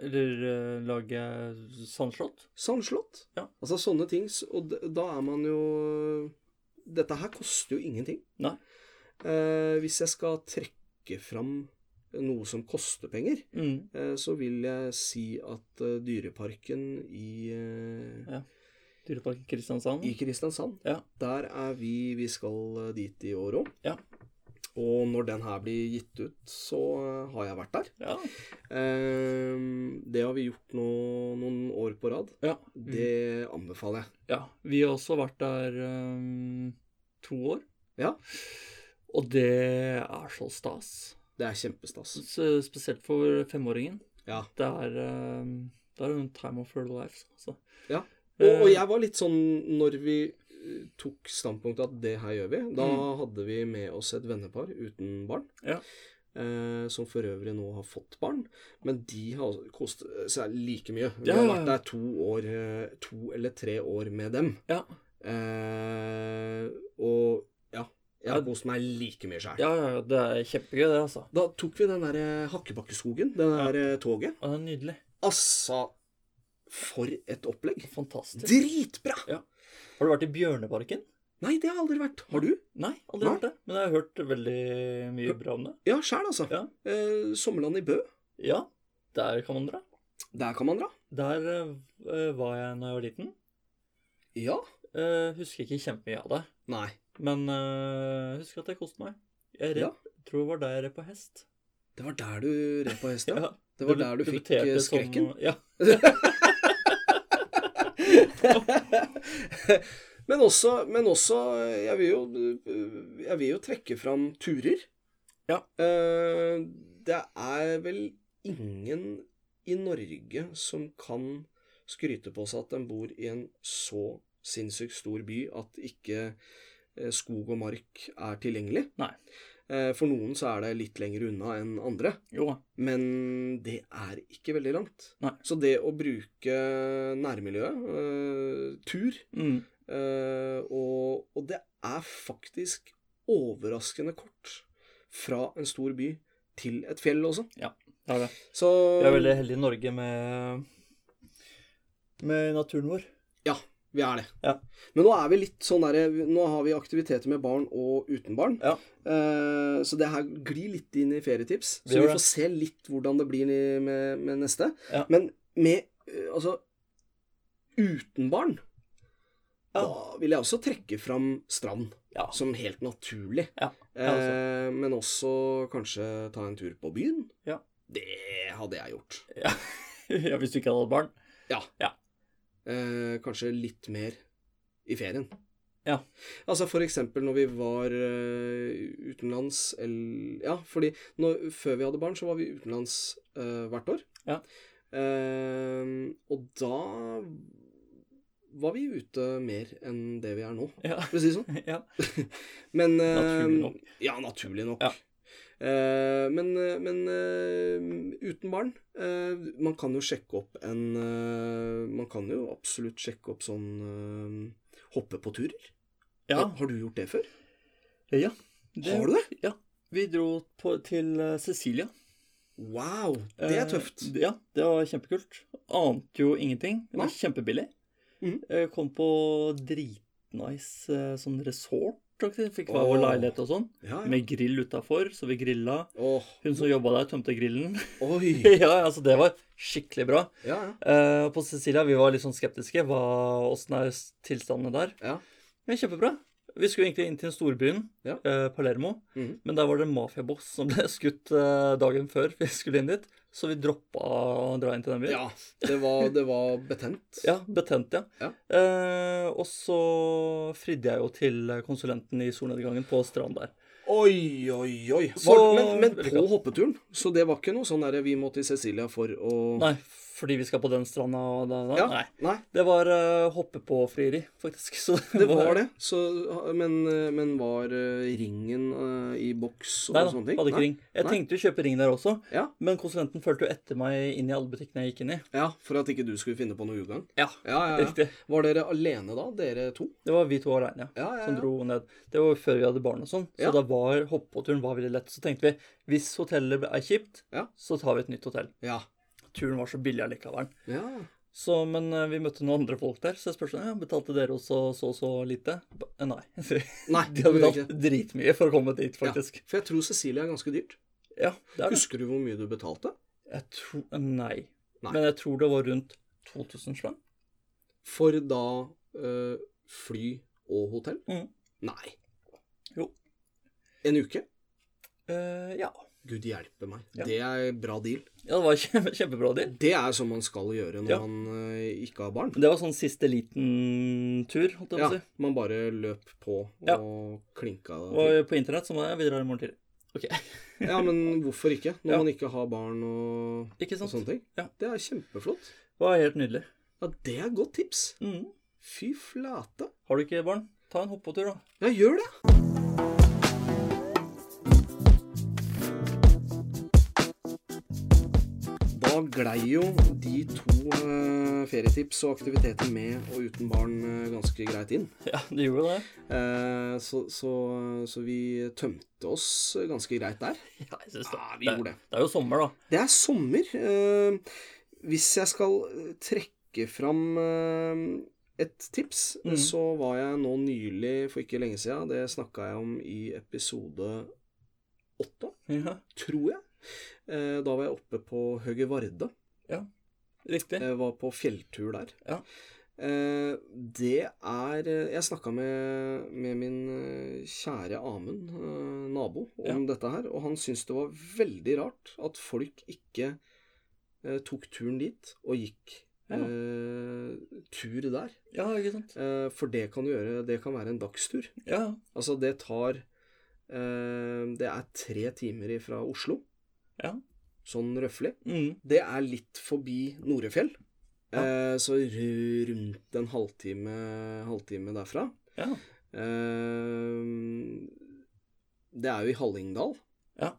Speaker 2: Eller eh, lage sandslott.
Speaker 1: Sandslott.
Speaker 2: Ja.
Speaker 1: Altså sånne ting. s- Og d- da er man jo eh, Dette her koster jo ingenting.
Speaker 2: Nei.
Speaker 1: Eh, hvis jeg skal trekke fram noe som koster penger,
Speaker 2: Mm.
Speaker 1: eh, så vil jeg si at eh, Dyreparken i eh,
Speaker 2: Dyreparken Kristiansand.
Speaker 1: I Kristiansand.
Speaker 2: Mm. Ja.
Speaker 1: Der er vi Vi skal eh, dit i år òg.
Speaker 2: Ja.
Speaker 1: Og når den her blir gitt ut, så eh, har jeg vært der.
Speaker 2: Ja.
Speaker 1: Ehm, det har vi gjort nå noen år på rad.
Speaker 2: Ja.
Speaker 1: Det anbefaler jeg.
Speaker 2: ja. Vi har også vært der eh, to år.
Speaker 1: Ja.
Speaker 2: Og det er så stas.
Speaker 1: Det er kjempestas.
Speaker 2: S- Spesielt for femåringen.
Speaker 1: Ja.
Speaker 2: Det er eh, det er jo en time of her life. Altså.
Speaker 1: Ja. Og,
Speaker 2: Eh,
Speaker 1: og jeg var litt sånn når vi eh, tok standpunktet at det her gjør vi. Da hadde vi med oss et vennepar uten barn.
Speaker 2: Mm. Ja.
Speaker 1: Eh, som for øvrig nå har fått barn. Men de har kost seg like mye. Vi
Speaker 2: Ja,
Speaker 1: har
Speaker 2: ja,
Speaker 1: vært
Speaker 2: ja.
Speaker 1: der to år eh, To eller tre år med dem.
Speaker 2: Ja.
Speaker 1: Eh, og ja. Jeg har
Speaker 2: Ja.
Speaker 1: kost meg like mye sjæl.
Speaker 2: ja, ja, ja, det er kjempegøy, det, altså.
Speaker 1: Da tok vi den derre Hakkebakkeskogen, det der eh, toget.
Speaker 2: Ja, Det er nydelig.
Speaker 1: Altså, for et opplegg.
Speaker 2: Fantastisk.
Speaker 1: Dritbra!
Speaker 2: Har du vært i Bjørneparken?
Speaker 1: Nei, det har jeg aldri vært. Har du?
Speaker 2: Nei, aldri
Speaker 1: Nei.
Speaker 2: hørt det. Men jeg har hørt veldig mye bra om det.
Speaker 1: Ja, sjæl, altså.
Speaker 2: Ja.
Speaker 1: Eh, Sommerland i Bø.
Speaker 2: Ja, der kan man dra.
Speaker 1: Der kan man dra.
Speaker 2: Der eh, var jeg da jeg var liten.
Speaker 1: Ja.
Speaker 2: Eh, husker ikke kjempemye av det.
Speaker 1: Nei.
Speaker 2: Men eh, husker at jeg koste meg. Jeg red,
Speaker 1: Ja.
Speaker 2: tror det var da jeg red på hest.
Speaker 1: Det var der du red på hesten.
Speaker 2: Ja,
Speaker 1: Det var
Speaker 2: debu-
Speaker 1: der du fikk
Speaker 2: debuterte
Speaker 1: eh,
Speaker 2: som-
Speaker 1: skrekken.
Speaker 2: ja.
Speaker 1: [laughs] men, også, men også eh, jeg vil, jo, eh, jeg vil jo trekke fram turer.
Speaker 2: Ja.
Speaker 1: Eh, det er vel ingen i Norge som kan skryte på seg at den bor i en så sinnssykt stor by at ikke eh, skog og mark er tilgjengelig.
Speaker 2: Nei.
Speaker 1: Eh, For noen så er det litt lenger unna enn andre.
Speaker 2: Jo da.
Speaker 1: Men det er ikke veldig langt.
Speaker 2: Nei.
Speaker 1: Så det å bruke nærmiljøet, eh, tur
Speaker 2: Mm.
Speaker 1: eh, og, og det er faktisk overraskende kort fra en stor by til et fjell også.
Speaker 2: Det er det.
Speaker 1: Så
Speaker 2: Vi er veldig heldige i Norge med, med naturen vår. [laughs]
Speaker 1: vi er det.
Speaker 2: Ja.
Speaker 1: Men nå er vi litt sånn der, nå har vi aktiviteter med barn og uten barn.
Speaker 2: Ja.
Speaker 1: Eh, så det her glir litt inn i ferietips.
Speaker 2: Det
Speaker 1: Så
Speaker 2: gjør
Speaker 1: vi
Speaker 2: det.
Speaker 1: får se litt hvordan det blir i- med, med neste.
Speaker 2: Ja.
Speaker 1: Men med eh, altså uten barn
Speaker 2: Ja.
Speaker 1: Da vil jeg også trekke fram strand
Speaker 2: Ja.
Speaker 1: som helt naturlig.
Speaker 2: Ja, altså.
Speaker 1: eh, men også kanskje ta en tur på byen.
Speaker 2: Ja.
Speaker 1: Det hadde jeg gjort.
Speaker 2: Ja. ja, hvis du ikke hadde hatt barn. [laughs]
Speaker 1: Eh, kanskje litt mer i ferien.
Speaker 2: Ja.
Speaker 1: Altså for eksempel når vi var eh, utenlands eller Ja, fordi når, før vi hadde barn, så var vi utenlands eh, hvert år.
Speaker 2: Ja.
Speaker 1: Eh, og da var vi ute mer enn det vi er nå,
Speaker 2: Ja.
Speaker 1: for å si det sånn.
Speaker 2: ja.
Speaker 1: Men eh,
Speaker 2: Naturlig nok.
Speaker 1: Ja, naturlig nok.
Speaker 2: Ja.
Speaker 1: Eh, men men eh, uten barn eh, Man kan jo sjekke opp en eh, Man kan jo absolutt sjekke opp sånn eh, hoppe på turer. Eh,
Speaker 2: Ja,
Speaker 1: Har, har du gjort det før?
Speaker 2: ja. Det,
Speaker 1: Har du det?
Speaker 2: Ja. Vi dro på, til eh, Sicilia.
Speaker 1: Wow, det er
Speaker 2: Eh,
Speaker 1: tøft.
Speaker 2: d- ja, det var kjempekult. Ante jo ingenting. Det
Speaker 1: Nei.
Speaker 2: var kjempebillig.
Speaker 1: Mhm.
Speaker 2: Eh, kom på dritnice eh, sånn resort. faktisk. Fikk hver vår
Speaker 1: Åh.
Speaker 2: leilighet og sånn.
Speaker 1: Ja, ja.
Speaker 2: Med grill utafor, så vi grilla.
Speaker 1: Åh,
Speaker 2: Hun som jobba der, tømte
Speaker 1: [laughs]
Speaker 2: grillen. [laughs]
Speaker 1: oi.
Speaker 2: ja, altså det var skikkelig bra.
Speaker 1: Ja, ja.
Speaker 2: Eh, på Cecilia vi var litt sånn skeptiske. Hva, åssen er s- tilstandene der?
Speaker 1: Ja.
Speaker 2: Men kjempebra. Vi skulle egentlig inn til storbyen,
Speaker 1: Ja.
Speaker 2: eh, Palermo.
Speaker 1: Mhm.
Speaker 2: Men der var det en mafiaboss som ble [laughs] skutt eh, dagen før vi skulle inn dit. Så vi droppa å dra inn til den byen.
Speaker 1: ja det, var, det var betent.
Speaker 2: Ja, betent, ja.
Speaker 1: Ja.
Speaker 2: Eh, og så fridde jeg jo til konsulenten i solnedgangen på stranden der.
Speaker 1: Oi, oi, oi.
Speaker 2: Så-
Speaker 1: Var, men, men
Speaker 2: Veldig
Speaker 1: på
Speaker 2: bra.
Speaker 1: hoppeturen? Så det var ikke noe sånn derre vi må til Cecilia for å
Speaker 2: Nei, fordi vi skal på den stranda og da, da.
Speaker 1: Mm. Ja.
Speaker 2: Nei.
Speaker 1: Nei,
Speaker 2: Det var uh, hoppe på frieri, faktisk. [laughs] Så
Speaker 1: det var det. Så, men, men var eh, ringen eh, i boks og
Speaker 2: Nei da,
Speaker 1: sånne ting?
Speaker 2: hadde ikke ring. Jeg
Speaker 1: Nei.
Speaker 2: tenkte jo å kjøpe ring der også,
Speaker 1: Ja.
Speaker 2: men konsulenten fulgte jo etter meg inn i alle butikkene jeg gikk inn i.
Speaker 1: Ja, for at ikke du skulle finne på noe ugagn?
Speaker 2: Ja,
Speaker 1: Ja, ja, ja.
Speaker 2: riktig.
Speaker 1: Var dere alene da, dere to?
Speaker 2: Det var vi to aleine ja,
Speaker 1: Ja, ja,
Speaker 2: som
Speaker 1: ja.
Speaker 2: dro ned. Det var jo før vi hadde barn og sånn, så
Speaker 1: Ja.
Speaker 2: da var hoppepåturen var veldig lett. Så tenkte vi hvis hotellet er kjipt,
Speaker 1: Ja.
Speaker 2: så tar vi et nytt hotell.
Speaker 1: Ja.
Speaker 2: Turen var så billig allikevel.
Speaker 1: ja.
Speaker 2: Så, men eh, vi møtte noen andre folk der, så jeg spurte ja, betalte dere også så og så lite. Ba- eh, Nei. [laughs]
Speaker 1: Nei,
Speaker 2: De hadde
Speaker 1: det gjorde
Speaker 2: betalt dritmye for å komme dit,
Speaker 1: Ja.
Speaker 2: faktisk.
Speaker 1: For jeg tror Cecilia er ganske dyrt.
Speaker 2: Ja, det er det.
Speaker 1: Husker du hvor mye du betalte?
Speaker 2: Jeg tror Nei.
Speaker 1: Nei.
Speaker 2: Men jeg tror det var rundt 2000 spenn.
Speaker 1: For da eh, fly og hotell?
Speaker 2: Mhm.
Speaker 1: Nei.
Speaker 2: Jo.
Speaker 1: En uke?
Speaker 2: Eh, ja.
Speaker 1: Gud hjelpe meg.
Speaker 2: Ja.
Speaker 1: Det er bra deal.
Speaker 2: ja. Det var [laughs] kjempe, kjempebra deal.
Speaker 1: Det er som man skal gjøre når
Speaker 2: Ja.
Speaker 1: man eh, ikke har barn.
Speaker 2: Det var sånn siste liten tur, holdt jeg
Speaker 1: Ja,
Speaker 2: på å si.
Speaker 1: man bare løp på og
Speaker 2: Ja.
Speaker 1: klinka.
Speaker 2: Og på internett så må jeg videre i morgen tidlig. Ok,
Speaker 1: Ja, men hvorfor ikke? Når
Speaker 2: Ja.
Speaker 1: man ikke har barn og,
Speaker 2: ikke
Speaker 1: og
Speaker 2: sant?
Speaker 1: sånne ting.
Speaker 2: Ja.
Speaker 1: Det er kjempeflott.
Speaker 2: Det var helt nydelig.
Speaker 1: Ja, det er godt tips.
Speaker 2: Mm.
Speaker 1: Fy flate.
Speaker 2: Har du ikke barn, ta en hoppetur, da. [laughs]
Speaker 1: Ja, gjør det. Da glei jo de to eh, ferietips og aktiviteter med og uten barn eh, ganske greit inn.
Speaker 2: Ja, du gjorde det.
Speaker 1: Eh, så, så, så vi tømte oss eh, ganske greit der.
Speaker 2: Ja, jeg synes det.
Speaker 1: Ja, vi gjorde det.
Speaker 2: Det er jo sommer, da.
Speaker 1: Det er sommer. Eh, hvis jeg skal eh, trekke fram eh, et tips, eh,
Speaker 2: Mhm.
Speaker 1: så var jeg nå nylig, for ikke lenge siden, det snakka jeg om i episode åtte,
Speaker 2: Ja,
Speaker 1: tror jeg. Eh, da var jeg oppe på Høge Varde.
Speaker 2: Riktig.
Speaker 1: Jeg Eh, var på fjelltur der.
Speaker 2: Ja.
Speaker 1: Eh, Det er eh, Jeg snakka med, med min eh, kjære Amund, eh, nabo, om dette her, og han syntes det var veldig rart at folk ikke eh, tok turen dit og gikk
Speaker 2: Ja.
Speaker 1: eh, tur der.
Speaker 2: Ja, ikke sant.
Speaker 1: Eh, for det kan du gjøre Det kan være en dagstur.
Speaker 2: Ja,
Speaker 1: Altså, det tar eh, Det er tre timer fra Oslo,
Speaker 2: Ja.
Speaker 1: sånn røffelig.
Speaker 2: mm.
Speaker 1: Det er litt forbi Norefjell.
Speaker 2: Ja.
Speaker 1: Eh, så ru- rundt en halvtime, halvtime derfra.
Speaker 2: ja.
Speaker 1: Eh, det er jo i Hallingdal.
Speaker 2: Ja.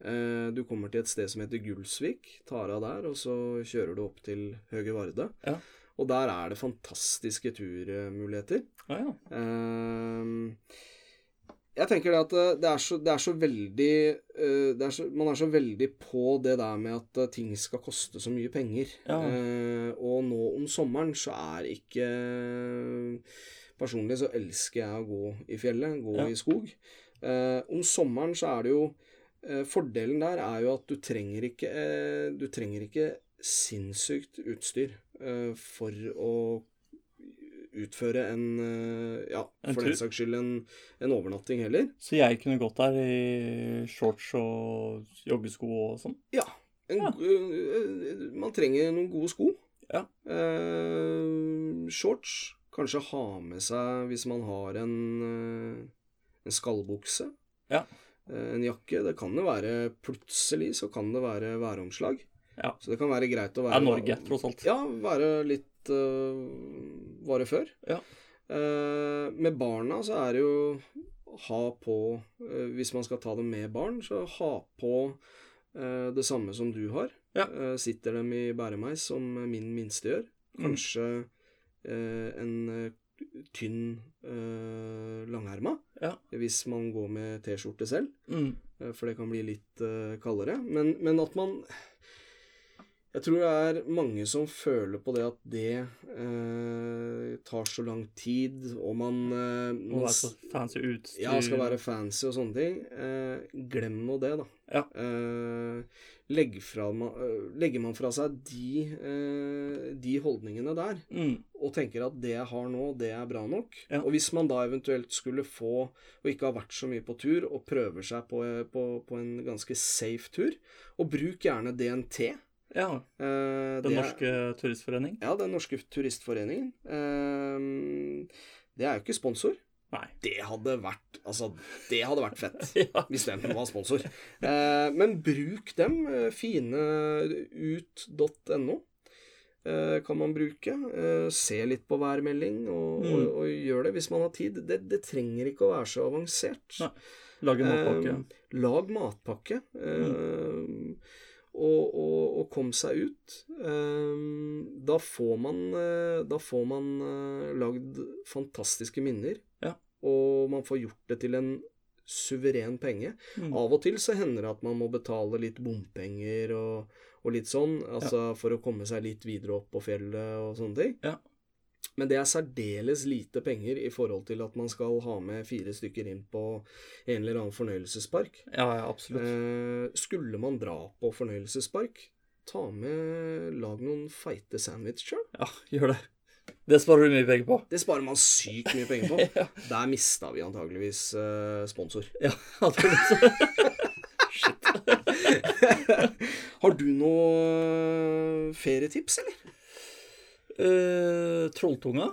Speaker 1: Eh, du kommer til et sted som heter Gullsvik. Tar av der, og så kjører du opp til Høge Varde.
Speaker 2: Ja.
Speaker 1: Og der er det fantastiske turmuligheter.
Speaker 2: ja, ja.
Speaker 1: Ehm, jeg tenker det at eh, det er så, det er så veldig eh, det er så, Man er så veldig på det der med at eh, ting skal koste så mye penger.
Speaker 2: Ja.
Speaker 1: Eh, og nå om sommeren så er ikke Personlig så elsker jeg å gå i fjellet, gå
Speaker 2: Ja.
Speaker 1: i skog. Eh, om sommeren så er det jo eh, Fordelen der er jo at du trenger ikke, eh, du trenger ikke sinnssykt utstyr eh, for å utføre en eh, Ja,
Speaker 2: En
Speaker 1: for
Speaker 2: tur?
Speaker 1: den saks skyld en, en overnatting heller.
Speaker 2: Så jeg kunne gått der i shorts og joggesko og sånn?
Speaker 1: En,
Speaker 2: Ja.
Speaker 1: go- eh, man trenger noen gode sko.
Speaker 2: Ja.
Speaker 1: Eh, shorts. Kanskje ha med seg, hvis man har en, eh, en skallbukse.
Speaker 2: Ja.
Speaker 1: Eh, en jakke. Det kan jo være plutselig så kan det være væromslag.
Speaker 2: Ja.
Speaker 1: Så det kan være greit å
Speaker 2: Det
Speaker 1: være
Speaker 2: er Norge, tross alt.
Speaker 1: Ja, være litt øh, Være før.
Speaker 2: Ja.
Speaker 1: Eh, med barna så er det jo ha på eh, Hvis man skal ta dem med barn, så ha på eh, det samme som du har.
Speaker 2: Ja.
Speaker 1: Eh, sitter dem i bæremeis, som min minste gjør.
Speaker 2: Mm.
Speaker 1: Kanskje eh, en eh, tynn eh, langerma,
Speaker 2: Ja.
Speaker 1: hvis man går med T-skjorte selv.
Speaker 2: Mm.
Speaker 1: Eh, For det kan bli litt eh, kaldere. Men, men at man Jeg tror det er mange som føler på det at det eh, tar så lang tid, og man, eh,
Speaker 2: Må
Speaker 1: man
Speaker 2: være
Speaker 1: s-
Speaker 2: så fancy utstyr.
Speaker 1: ja, skal være fancy og sånne ting. Eh, glem nå det, da.
Speaker 2: Ja.
Speaker 1: Eh, legg fra, ma- eh, legger man fra seg de, eh, de holdningene der,
Speaker 2: mm.
Speaker 1: og tenker at det jeg har nå, det er bra nok.
Speaker 2: Ja.
Speaker 1: Og hvis man da eventuelt skulle få, og ikke har vært så mye på tur, og prøver seg på, eh, på, på en ganske safe tur, og bruk gjerne DNT. Eh,
Speaker 2: ja. Den
Speaker 1: det er-
Speaker 2: norske turistforening?
Speaker 1: Ja, Den norske turistforeningen. Eh, det er jo ikke sponsor. [laughs]
Speaker 2: Nei.
Speaker 1: Det hadde vært Altså, det hadde vært fett.
Speaker 2: Ja.
Speaker 1: Hvis den var sponsor. Eh, men bruk dem. eh, Fineut.no eh, kan man bruke. Eh, se litt på værmelding og, og,
Speaker 2: Mm.
Speaker 1: og gjør det hvis man har tid. Det, det trenger ikke å være så avansert.
Speaker 2: Nei. Lage matpakke.
Speaker 1: Eh, lag matpakke. eh,
Speaker 2: Mm.
Speaker 1: og, og, og kom seg ut. Eh, da får man, eh, da får man eh, lagd fantastiske minner.
Speaker 2: Ja.
Speaker 1: Og man får gjort det til en suveren penge.
Speaker 2: Mm.
Speaker 1: Av og til så hender det at man må betale litt bompenger og, og litt sånn, altså for å komme seg litt videre opp på fjellet og sånne ting.
Speaker 2: Ja.
Speaker 1: Men det er særdeles lite penger i forhold til at man skal ha med fire stykker inn på en eller annen fornøyelsespark.
Speaker 2: Ja, ja, absolutt.
Speaker 1: Eh, skulle man dra på fornøyelsespark, ta med Lag noen feite sandwicher.
Speaker 2: Ja, gjør det. Det sparer du mye penger på.
Speaker 1: Det sparer man sykt mye penger
Speaker 2: [laughs]
Speaker 1: på.
Speaker 2: Ja.
Speaker 1: Der mista vi antageligvis eh, sponsor.
Speaker 2: [laughs] Shit.
Speaker 1: Har du noe ferietips, eller?
Speaker 2: Eh, trolltunga?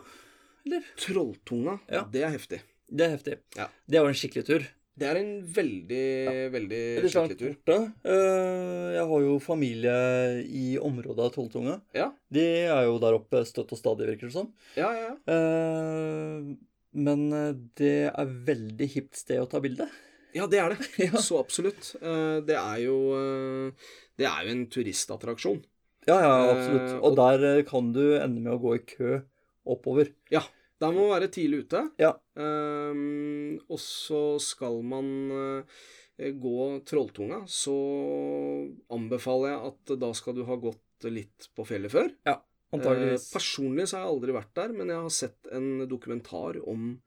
Speaker 1: Trolltunga,
Speaker 2: Ja.
Speaker 1: det er heftig.
Speaker 2: Det er heftig.
Speaker 1: Ja.
Speaker 2: Det var en skikkelig tur.
Speaker 1: Det er en veldig, veldig
Speaker 2: Litt langt
Speaker 1: skikkelig tur.
Speaker 2: borte. Eh, Jeg har jo familie i området av Trolltunga.
Speaker 1: Ja.
Speaker 2: De er jo der oppe støtt og stadig, virker det som.
Speaker 1: Ja, ja, ja.
Speaker 2: Eh, Men det er veldig hipt sted å ta bilde.
Speaker 1: ja, det er det.
Speaker 2: Ja.
Speaker 1: Så absolutt. Eh, Det er jo eh, Det er jo en turistattraksjon.
Speaker 2: ja, ja, absolutt.
Speaker 1: Eh,
Speaker 2: Og der eh, kan du ende med å gå i kø oppover.
Speaker 1: Der må man være tidlig ute.
Speaker 2: Ja.
Speaker 1: Ehm, og så skal man eh, gå Trolltunga, så anbefaler jeg at da skal du ha gått litt på fjellet før.
Speaker 2: Antageligvis.
Speaker 1: Eh, personlig så har jeg aldri vært der, men jeg har sett en dokumentar om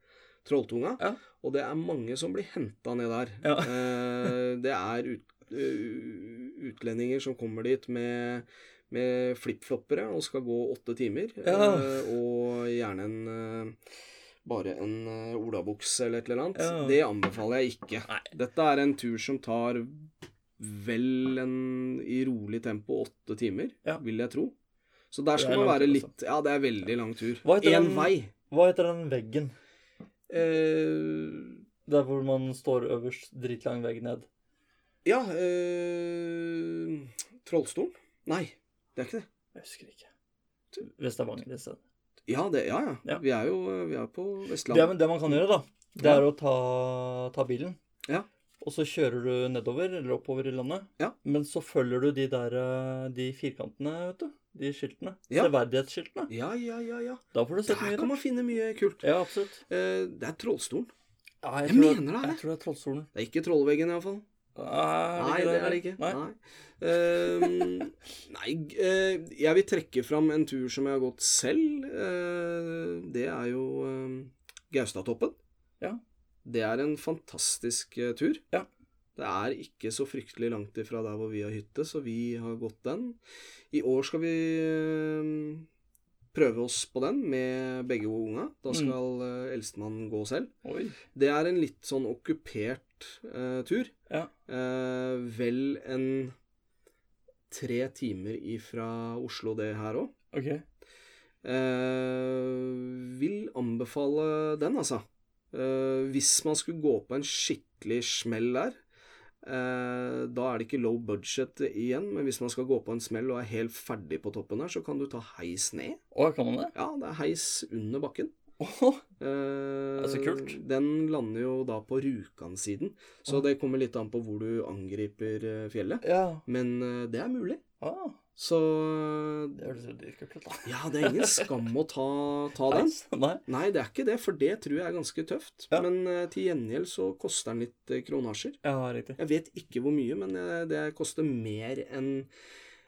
Speaker 1: Trolltunga.
Speaker 2: Ja.
Speaker 1: Og det er mange som blir henta ned der.
Speaker 2: Ja.
Speaker 1: Eh, det er ut, eh, utlendinger som kommer dit med, med flipfloppere og skal gå åtte timer.
Speaker 2: Ja.
Speaker 1: eh, og gjerne en eh, bare en eh, olabukse eller et eller annet.
Speaker 2: Ja.
Speaker 1: Det anbefaler jeg ikke.
Speaker 2: Nei.
Speaker 1: Dette er en tur som tar vel en i rolig tempo åtte timer,
Speaker 2: Ja.
Speaker 1: vil jeg tro. Så der
Speaker 2: Det
Speaker 1: skal
Speaker 2: er
Speaker 1: man være
Speaker 2: lang tur, altså.
Speaker 1: litt Ja, det er veldig lang tur.
Speaker 2: Hva
Speaker 1: Én
Speaker 2: heter den-
Speaker 1: vei.
Speaker 2: Hva heter den veggen?
Speaker 1: Eh,
Speaker 2: Der hvor man står øverst, dritlang vegg ned.
Speaker 1: ja eh, Trollstolen? Nei, det er ikke det.
Speaker 2: Jeg husker ikke. Hvis det er mange disse.
Speaker 1: Ja, det, ja, ja.
Speaker 2: Ja.
Speaker 1: Vi er jo vi er på
Speaker 2: Det,
Speaker 1: Vestlandet.
Speaker 2: men det man kan gjøre, da, det
Speaker 1: Ja.
Speaker 2: er å ta, ta bilen.
Speaker 1: Ja.
Speaker 2: Og så kjører du nedover eller oppover i landet.
Speaker 1: Ja.
Speaker 2: Men så følger du de der eh, de firkantene, vet du. De skiltene.
Speaker 1: Ja.
Speaker 2: Severdighetsskiltene.
Speaker 1: Ja, ja, ja. ja.
Speaker 2: Da får du sett
Speaker 1: Der
Speaker 2: mye
Speaker 1: kan
Speaker 2: rart.
Speaker 1: man finne mye kult.
Speaker 2: Ja, absolutt.
Speaker 1: Eh, det er Trollstolen.
Speaker 2: Ja,
Speaker 1: Jeg
Speaker 2: tror
Speaker 1: mener det er det.
Speaker 2: Jeg tror det er Trollstolen.
Speaker 1: Det er ikke Trollveggen, iallfall. Nei, det er det ikke.
Speaker 2: Nei.
Speaker 1: Nei. Ehm, nei, g- eh, jeg vil trekke fram en tur som jeg har gått selv. Eh, det er jo eh, Gaustatoppen.
Speaker 2: Ja.
Speaker 1: Det er en fantastisk eh, tur.
Speaker 2: Ja.
Speaker 1: Det er ikke så fryktelig langt ifra der hvor vi har hytte, så vi har gått den. I år skal vi eh, prøve oss på den med begge unga. Da
Speaker 2: Mm.
Speaker 1: skal eh, eldstemann gå selv.
Speaker 2: Oi.
Speaker 1: Det er en litt sånn okkupert eh, tur.
Speaker 2: Ja.
Speaker 1: Eh, vel en tre timer ifra Oslo, det her òg.
Speaker 2: Ok.
Speaker 1: Eh, vil anbefale den, altså. Eh, hvis man skulle gå på en skikkelig smell der, eh, da er det ikke low budget igjen, men hvis man skal gå på en smell og er helt ferdig på toppen her, så kan du ta heis ned.
Speaker 2: Å, kan man det? [laughs]
Speaker 1: Ja, det er heis under bakken.
Speaker 2: Åh,
Speaker 1: Eh,
Speaker 2: Det er så Altså, kult.
Speaker 1: Den lander jo da på Rjukan-siden, så
Speaker 2: Åh.
Speaker 1: det kommer litt an på hvor du angriper eh, fjellet.
Speaker 2: ja.
Speaker 1: Men eh, det er mulig.
Speaker 2: Ah,
Speaker 1: Så eh,
Speaker 2: det høres veldig kult ut, da.
Speaker 1: ja, det er ingen skam å ta, ta den.
Speaker 2: Nei.
Speaker 1: Nei, det er ikke det, for det tror jeg er ganske tøft.
Speaker 2: Ja.
Speaker 1: Men eh, til gjengjeld så koster den litt eh, kronasjer.
Speaker 2: Ja, riktig.
Speaker 1: Jeg vet ikke hvor mye, men eh, det koster mer enn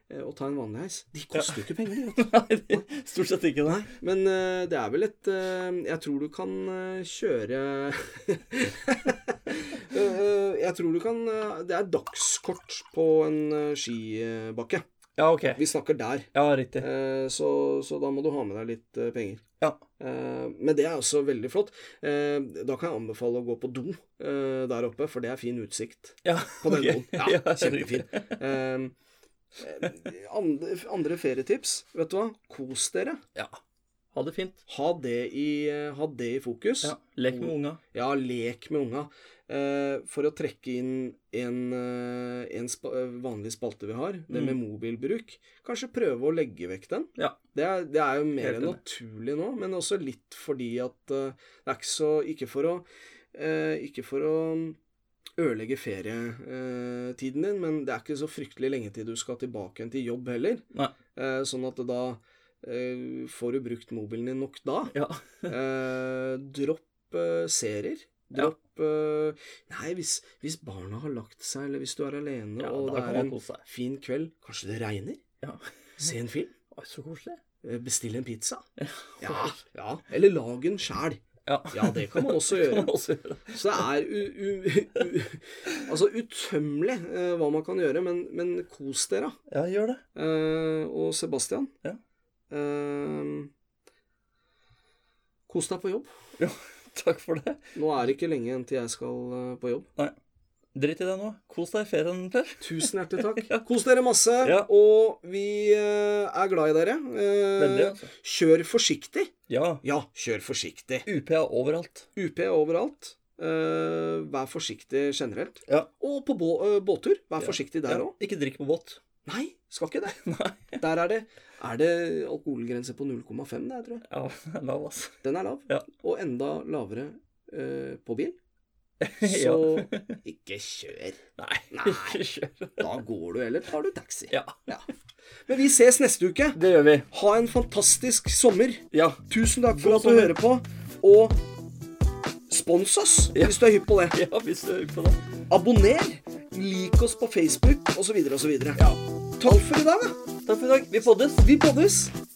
Speaker 1: eh, å ta en vanlig heis. De koster jo ikke penger, de, vet du.
Speaker 2: [laughs] Nei, det- stort sett ikke det.
Speaker 1: Men eh, det er vel et eh, Jeg tror du kan eh, kjøre [laughs] Eh, Jeg tror du kan eh, Det er dagskort på en eh, skibakke.
Speaker 2: Ja, ok.
Speaker 1: Vi snakker der.
Speaker 2: Ja, riktig.
Speaker 1: Eh, Så, så da må du ha med deg litt eh, penger.
Speaker 2: Ja.
Speaker 1: Eh, Men det er også veldig flott. Eh, Da kan jeg anbefale å gå på do eh, der oppe, for det er fin utsikt.
Speaker 2: [laughs] Ja,
Speaker 1: På den
Speaker 2: ok.
Speaker 1: måten. Ja, kjempefin. Eh, eh, Andre, andre ferietips, vet du hva? Kos dere.
Speaker 2: Ja. Ha det fint.
Speaker 1: Ha det i, eh, ha det i fokus.
Speaker 2: Ja. Mm. Lek med unga.
Speaker 1: Ja, lek med unga. Eh, for å trekke inn en, eh, en spa eh, vanlig spalte vi har, det med mobilbruk, kanskje prøve å legge vekk den.
Speaker 2: Mm. Ja.
Speaker 1: Det, er, det er jo mer
Speaker 2: Helt enig.
Speaker 1: naturlig nå, men også litt fordi at eh, det er ikke så Ikke for å, eh, ikke for å ødelegge ferietiden din, men det er ikke så fryktelig lenge til du skal tilbake igjen til jobb heller.
Speaker 2: Nei.
Speaker 1: Eh, sånn at da eh, får du brukt mobilen din nok da.
Speaker 2: Ja.
Speaker 1: [laughs] Eh, dropp eh, serier.
Speaker 2: Ja.
Speaker 1: Dropp eh, Nei, hvis, hvis barna har lagt seg, eller hvis du er alene
Speaker 2: Ja,
Speaker 1: og
Speaker 2: da
Speaker 1: det
Speaker 2: kan
Speaker 1: er
Speaker 2: man
Speaker 1: en
Speaker 2: kose seg.
Speaker 1: fin kveld Kanskje det regner?
Speaker 2: Ja.
Speaker 1: Se en film?
Speaker 2: Oi, så koselig.
Speaker 1: eh, Bestill en pizza? Ja. ja. Eller lag en sjæl.
Speaker 2: [laughs] Ja.
Speaker 1: Ja, det kan man også
Speaker 2: [laughs] Det
Speaker 1: gjøre.
Speaker 2: man også gjøre.
Speaker 1: Så det er u, u, u, altså utømmelig eh, hva man kan gjøre, men, men kos dere. da.
Speaker 2: Ja, gjør det.
Speaker 1: Eh, og Sebastian
Speaker 2: Ja.
Speaker 1: eh, Kos deg på jobb.
Speaker 2: Takk for det.
Speaker 1: Nå er det ikke lenge igjen til jeg skal eh, på jobb.
Speaker 2: Drit i det nå. Kos deg i ferien, Per.
Speaker 1: Tusen hjertelig
Speaker 2: [laughs] Ja.
Speaker 1: takk. Kos dere masse,
Speaker 2: Ja.
Speaker 1: og vi eh, er glad i dere. Eh,
Speaker 2: Veldig, altså.
Speaker 1: Kjør forsiktig.
Speaker 2: Ja.
Speaker 1: Ja, kjør forsiktig.
Speaker 2: UP er overalt.
Speaker 1: UP er overalt. Eh, vær forsiktig generelt.
Speaker 2: Ja.
Speaker 1: Og på bå eh, båttur, vær
Speaker 2: Ja.
Speaker 1: forsiktig der
Speaker 2: Ja,
Speaker 1: òg.
Speaker 2: Ikke drikk på båt.
Speaker 1: Nei, skal ikke det.
Speaker 2: [laughs] Nei.
Speaker 1: Der er det, er det alkoholgrense på 0,5 der, tror jeg.
Speaker 2: Ja, [laughs] lav, altså.
Speaker 1: Den er lav.
Speaker 2: Ja.
Speaker 1: Og enda lavere eh, på bil.
Speaker 2: [laughs] Ja.
Speaker 1: Så ikke kjør.
Speaker 2: [laughs] Nei.
Speaker 1: Nei.
Speaker 2: Ikke [laughs] kjør.
Speaker 1: Da går du, eller tar du taxi.
Speaker 2: Ja.
Speaker 1: Men vi ses neste uke.
Speaker 2: Det gjør vi.
Speaker 1: Ha en fantastisk sommer.
Speaker 2: Ja.
Speaker 1: Tusen takk
Speaker 2: God
Speaker 1: for at du
Speaker 2: sommer.
Speaker 1: hører på. Og spons oss hvis du er hypp på det.
Speaker 2: Ja, hvis du hører på det.
Speaker 1: Abonner. Lik oss på Facebook osv. osv.
Speaker 2: Ja.
Speaker 1: Takk for i dag, da.
Speaker 2: Takk for i dag. Vi poddes.
Speaker 1: Vi poddes.